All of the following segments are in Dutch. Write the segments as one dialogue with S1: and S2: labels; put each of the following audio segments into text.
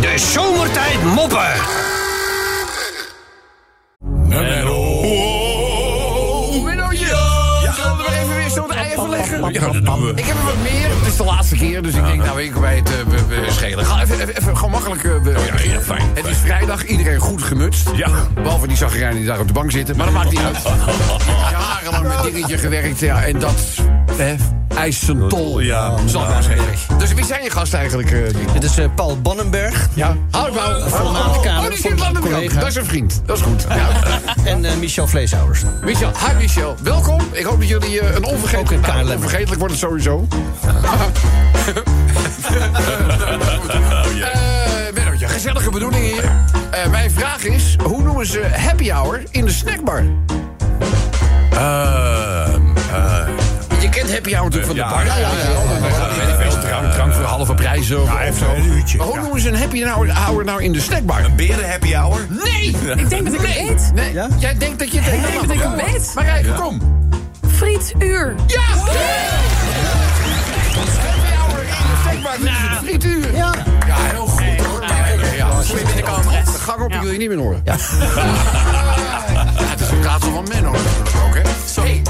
S1: De zomertijd moppen.
S2: Menno.
S3: Menno, Oh, ja. Zullen we even weer zo'n ei even leggen?
S2: Ja, dat doen
S3: Ik
S2: we.
S3: heb er wat meer. Het is de laatste keer, dus ik denk, nou, ik kan mij het eh, be- be- schelen. Ga even, even, even gewoon makkelijk eh, be- beginnen.
S2: Oh ja, fijn,
S3: Het is vrijdag, iedereen goed gemutst.
S2: Ja.
S3: Behalve die zagrijnen die daar op de bank zitten. Maar dat maakt niet uit. Ik heb jarenlang met dingetje gewerkt, ja. En dat hè, eist zijn tol.
S2: Ja.
S3: Zal ik maar zeggen. Dus wie zijn je gasten eigenlijk? eh, die-
S4: Dit is eh, Paul Bannenberg.
S3: ja, hou ik nou.
S4: voormalig kamer,
S3: Oh, die zit
S4: voormalig
S3: aan de kant.
S4: collega.
S3: Dat is een vriend. Dat is goed. Ja.
S4: En eh, Michel Vleeshouders.
S3: Michel, hi Michel. Welkom. Ik hoop dat jullie eh, een
S4: Ook een
S3: onvergetelijk...
S4: KLM.
S3: onvergetelijk wordt het sowieso. Eh Mennootje, gezellige bedoeling hier. Eh, mijn vraag is, hoe noemen ze happy hour in de snackbar?
S2: Ehm, eh,
S3: Je kent happy hour natuurlijk van de
S2: Ja,
S3: bar.
S2: ja, ja, ja.
S3: Weet ik veel, Drank, drank voor halve prijzen. of-
S2: Hij heeft zo'n uurtje.
S3: Maar hoe noemen ze een happy hour- hour nou in de snackbar?
S2: Beren happy hour?
S3: Nee!
S5: Ik denk dat ik
S3: Nee!
S5: het weet.
S3: Nee,
S4: Ja?
S3: jij denkt dat je het
S5: denk dat ik het weet.
S3: Marijke, kom.
S5: Frietuur.
S3: Ja! Happy hour in de snackbar, dat is een frituur. Ja, heel goed hoor. Kijk, ja, slim binnenkomen. De gang op, ik wil je niet meer horen. Ja, het is een raadsel van Menno natuurlijk ook, hè? Hey,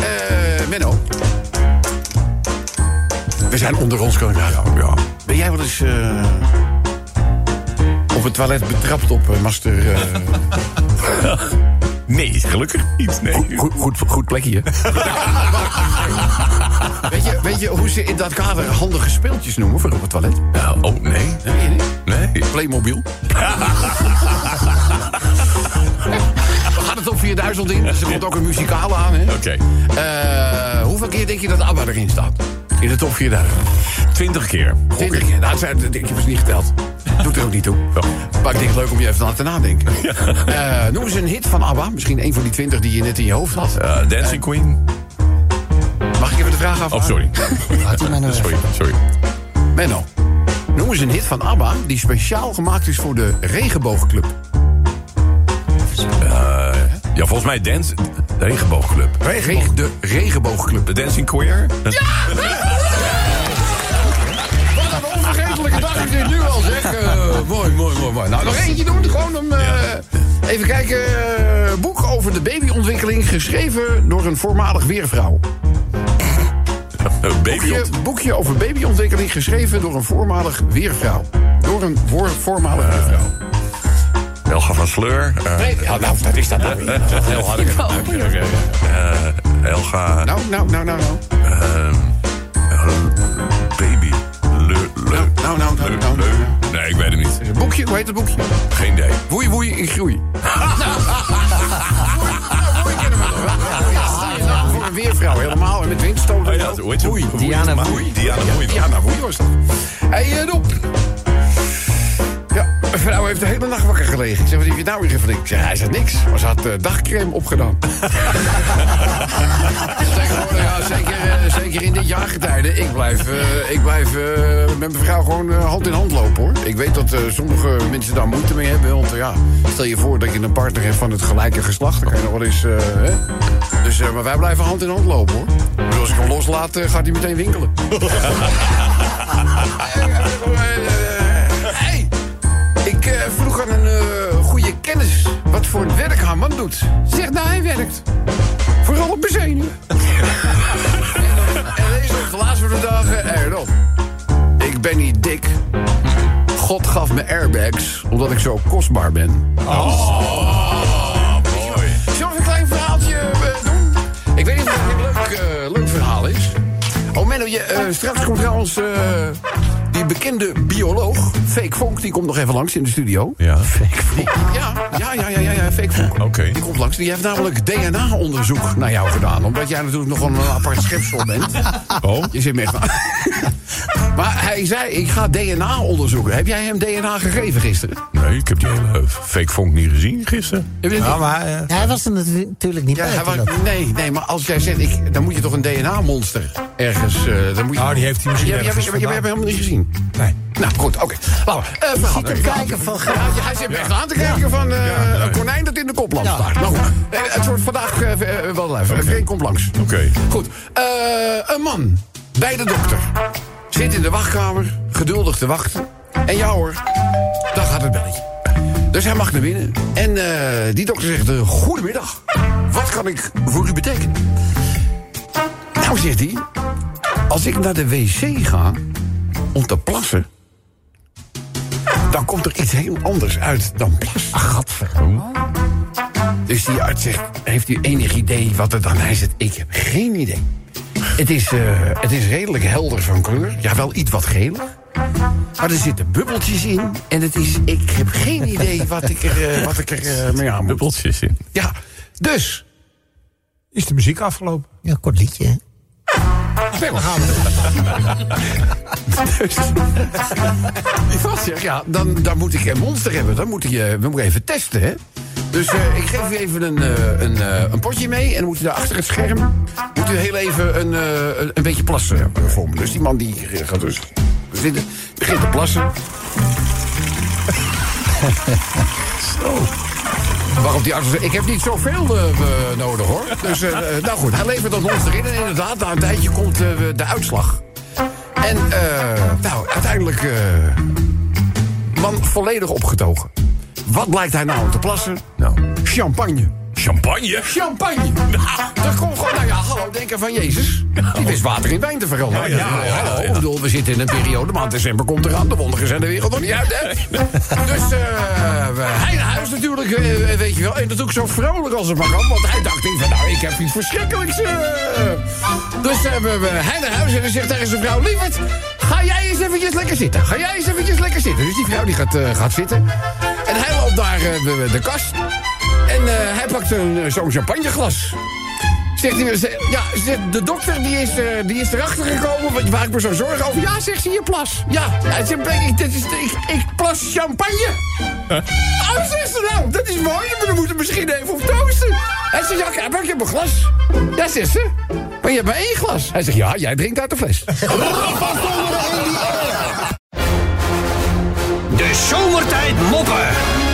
S3: eh, Menno. We zijn onder ons kunnen ja. Ben jij wel eens eh, op het toilet betrapt op eh, master... eh,
S2: Nee, gelukkig niet. Nee.
S3: goed, goed, goed plekje, weet, je, weet je hoe ze in dat kader handige speeltjes noemen voor op het toilet?
S2: Nou, oh, nee.
S3: Weet je niet?
S2: Nee.
S3: Playmobil. We gaan het op 4000 in, dus er komt ook een muzikale aan, hè?
S2: Oké.
S3: Eh, hoeveel keer denk je dat ABBA erin staat? In de top 4000.
S2: Twintig keer.
S3: Denk ik, nou, het zijn- ik heb het niet geteld. Doet er ook niet toe. Maar ik denk leuk om je even te laten nadenken. Eh, noem eens een hit van ABBA. Misschien een van die 20 die je net in je hoofd had.
S2: Eh, Dancing Queen.
S3: Mag ik even de vraag af?
S2: Oh, sorry.
S3: Ah.
S4: Laat die mij nou
S2: Sorry,
S4: even.
S2: sorry.
S3: Menno, noem eens een hit van ABBA die speciaal gemaakt is voor de regenboogclub.
S2: Ja, volgens mij Dance... De Regenboogclub.
S3: Reg- de regenboogclub.
S2: De Dancing Queer?
S3: Wat een onvergetelijke dag is dit nu al, zeg. Eh, mooi, mooi, mooi, mooi. Nou, nog eentje doen. Gewoon om... eh, Even kijken. eh, boek over de babyontwikkeling geschreven door een voormalig weervrouw.
S2: Eh, Baby
S3: Boekje,
S2: Hot.
S3: boekje over babyontwikkeling geschreven door een voormalig weervrouw. Door een voor, voormalig weervrouw.
S2: Helga van Sleur. eh,
S3: Eh, Nee, ja, nou, dat is dat nou weer. Dat is heel hard.
S5: Oh.
S2: eh, Helga...
S3: Nou, nou, nou, nou, nou.
S2: Baby. Leur. Leur.
S3: Nou, nou, nou, nou, nou.
S2: Leur. Nee, ik weet het niet.
S3: Boekje, hoe heet het boekje?
S2: Geen idee.
S3: Woei, woei, ik groei. Voor een weervrouw helemaal en met windstoten.
S2: Oh ja, hoe heet ze?
S3: Woei.
S4: Diana
S2: Woei.
S4: Woei.
S2: Diana Woei.
S3: Ja, nou, woei was dat. Hey, eh, Dop. Ja, een vrouw heeft de hele nacht wakker gelegen. Ik zeg, wat heb je nou weer geflikt? Ik zeg, hij zegt niks. Maar ze had eh, dagcreme opgedaan. Tegenwoordig, ja, zeker, eh, zeker in dit jaargetijde. Ik blijf, eh, ik blijf eh, met mijn vrouw gewoon eh, hand in hand lopen, hoor. Ik weet dat eh, sommige mensen daar moeite mee hebben. Want eh, ja, stel je voor dat je een partner hebt van het gelijke geslacht. Dan kan je nog wel eens... eh, hè? Dus, eh, maar wij blijven hand in hand lopen, hoor. Dus als ik hem loslaat, eh, gaat hij meteen winkelen. Hey, ik eh, vroeg aan een eh, goede kennis wat voor een werk haar man doet. Ze Zegt nou, hij werkt. Vooral op mijn zenuwen. en, dan- en deze op de laatste van de dagen erop. Ik ben niet dik. God gaf me airbags omdat ik zo kostbaar ben.
S2: Mooi.
S3: Zullen we een klein verhaaltje eh, doen? Ik weet niet of het een leuk, eh, leuk verhaal is. Oh Menno, je, eh, straks komt trouwens eh, die bekende bioloog, Fake Vonk, die komt nog even langs in de studio.
S2: Ja.
S3: Ja, ja, ja, ja, ja, ja Fake Vonk.
S2: Oké.
S3: Die komt langs. Die heeft namelijk DNA-onderzoek naar jou gedaan. Omdat jij natuurlijk nog wel een apart schepsel bent.
S2: Oh.
S3: Je zit me echt aan. Maar hij zei, ik ga DNA onderzoeken. Heb jij hem DNA gegeven gisteren?
S2: Nee, ik heb die hele eh, fake vonk niet gezien gisteren.
S3: Heb je dat niet?
S4: Ja, maar, eh, hij was er natu- natuurlijk niet
S3: Ja,
S4: bij.
S3: hij
S4: toen
S3: wou-
S4: dat-
S3: nee, nee, maar als jij zegt, ik, dan moet je toch een DNA-monster ergens... eh dan moet je,
S6: Nou, die heeft hij misschien
S3: Ja, ja,
S6: ergens
S3: maar je- maar je hebt hem helemaal niet gezien.
S6: Nee.
S3: Nou, goed, oké. Laten we, eh, verhaal.
S4: Zit te kijken van,
S3: Ja, hij zit echt aan te kijken van eh, een konijn dat in de kop langs
S4: Ja.
S3: staat. Nou, goed. Eh, het wordt vandaag eh, eh, wel even. Vreemd komt langs.
S2: Oké.
S3: Goed. Eh, een man bij de dokter. Zit in de wachtkamer, geduldig te wachten. En ja hoor, dag gaat het belletje. Dus hij mag naar binnen. En eh, die dokter zegt, eh, goedemiddag. Wat kan ik voor u betekenen? Nou, zegt hij, als ik naar de wc ga om te plassen... dan komt er iets heel anders uit dan plas. Ach, gadverdamme. Dus die arts zegt, heeft u enig idee wat er dan... Hij zegt, ik heb geen idee. Het is, eh, het is redelijk helder van kleur. Ja, wel iets wat gelig. Maar er zitten bubbeltjes in. En het is, ik heb geen idee wat ik er, eh, wat ik er eh, mee aan moet.
S2: Bubbeltjes in.
S3: Ja, dus...
S1: Is de muziek afgelopen?
S4: Ja, kort liedje. hè.
S3: Daar gaan we. dus, die vast zegt, ja, dan, dan moet ik een monster hebben. Dan moet ik, eh, we moeten even testen, hè. Dus eh, ik geef u even een, eh, een, eh, een potje mee. En dan moet u daar achter het scherm... moet u heel even een, eh, een, een beetje plassen eh, voor me. Dus die man die gaat dus zitten, begint te plassen. Waarop die arts zegt, ik heb niet zoveel eh, eh, nodig hoor. Dus eh, eh, nou goed, hij levert dat monster in. En inderdaad, na een tijdje komt eh, de uitslag. En eh, nou, uiteindelijk... eh, man volledig opgetogen. Wat blijkt hij nou te plassen?
S2: Nou,
S3: Champagne.
S2: champagne.
S3: Champagne! Dat komt gewoon, nou ja, hallo, denken van Jezus. Die wist water in wijn te veranderen.
S2: Ja, ja, ja, ja,
S3: hallo.
S2: ja.
S3: Oh, Ik bedoel, we zitten in een periode, maand december komt eraan. De wonderen zijn de wereld nog niet uit, hè? Dus eh, we- hij naar huis natuurlijk, eh, weet je wel. En dat ook zo vrolijk als het maar kan. Want hij dacht, ik van, nou, ik heb iets verschrikkelijks. eh. Dus eh, we, we, hij naar huis en dan zegt tegen zijn vrouw... Lieverd, ga jij eens eventjes lekker zitten. Ga jij eens eventjes lekker zitten. Dus die vrouw die gaat, eh, gaat zitten. En hij loopt naar eh, de, de kast. En eh, hij pakt een, eh, zo'n champagneglas. Zegt hij, ze- ja, ze- de dokter die is, eh, die is erachter gekomen wat- waar ik me zo zorgen over. Ja, zegt ze, je plas. Ja, hij zegt, ben ik, dit is, ik, ik plas champagne. Oh, zegt ze nou, dat is mooi, maar dan moeten we misschien even op toosten. Hij zegt, ja, kijk, maar ik heb een glas. Ja, zegt ze, maar je hebt maar één glas. Hij zegt, ja, jij drinkt uit de fles.
S6: De E. zomertijd moppen.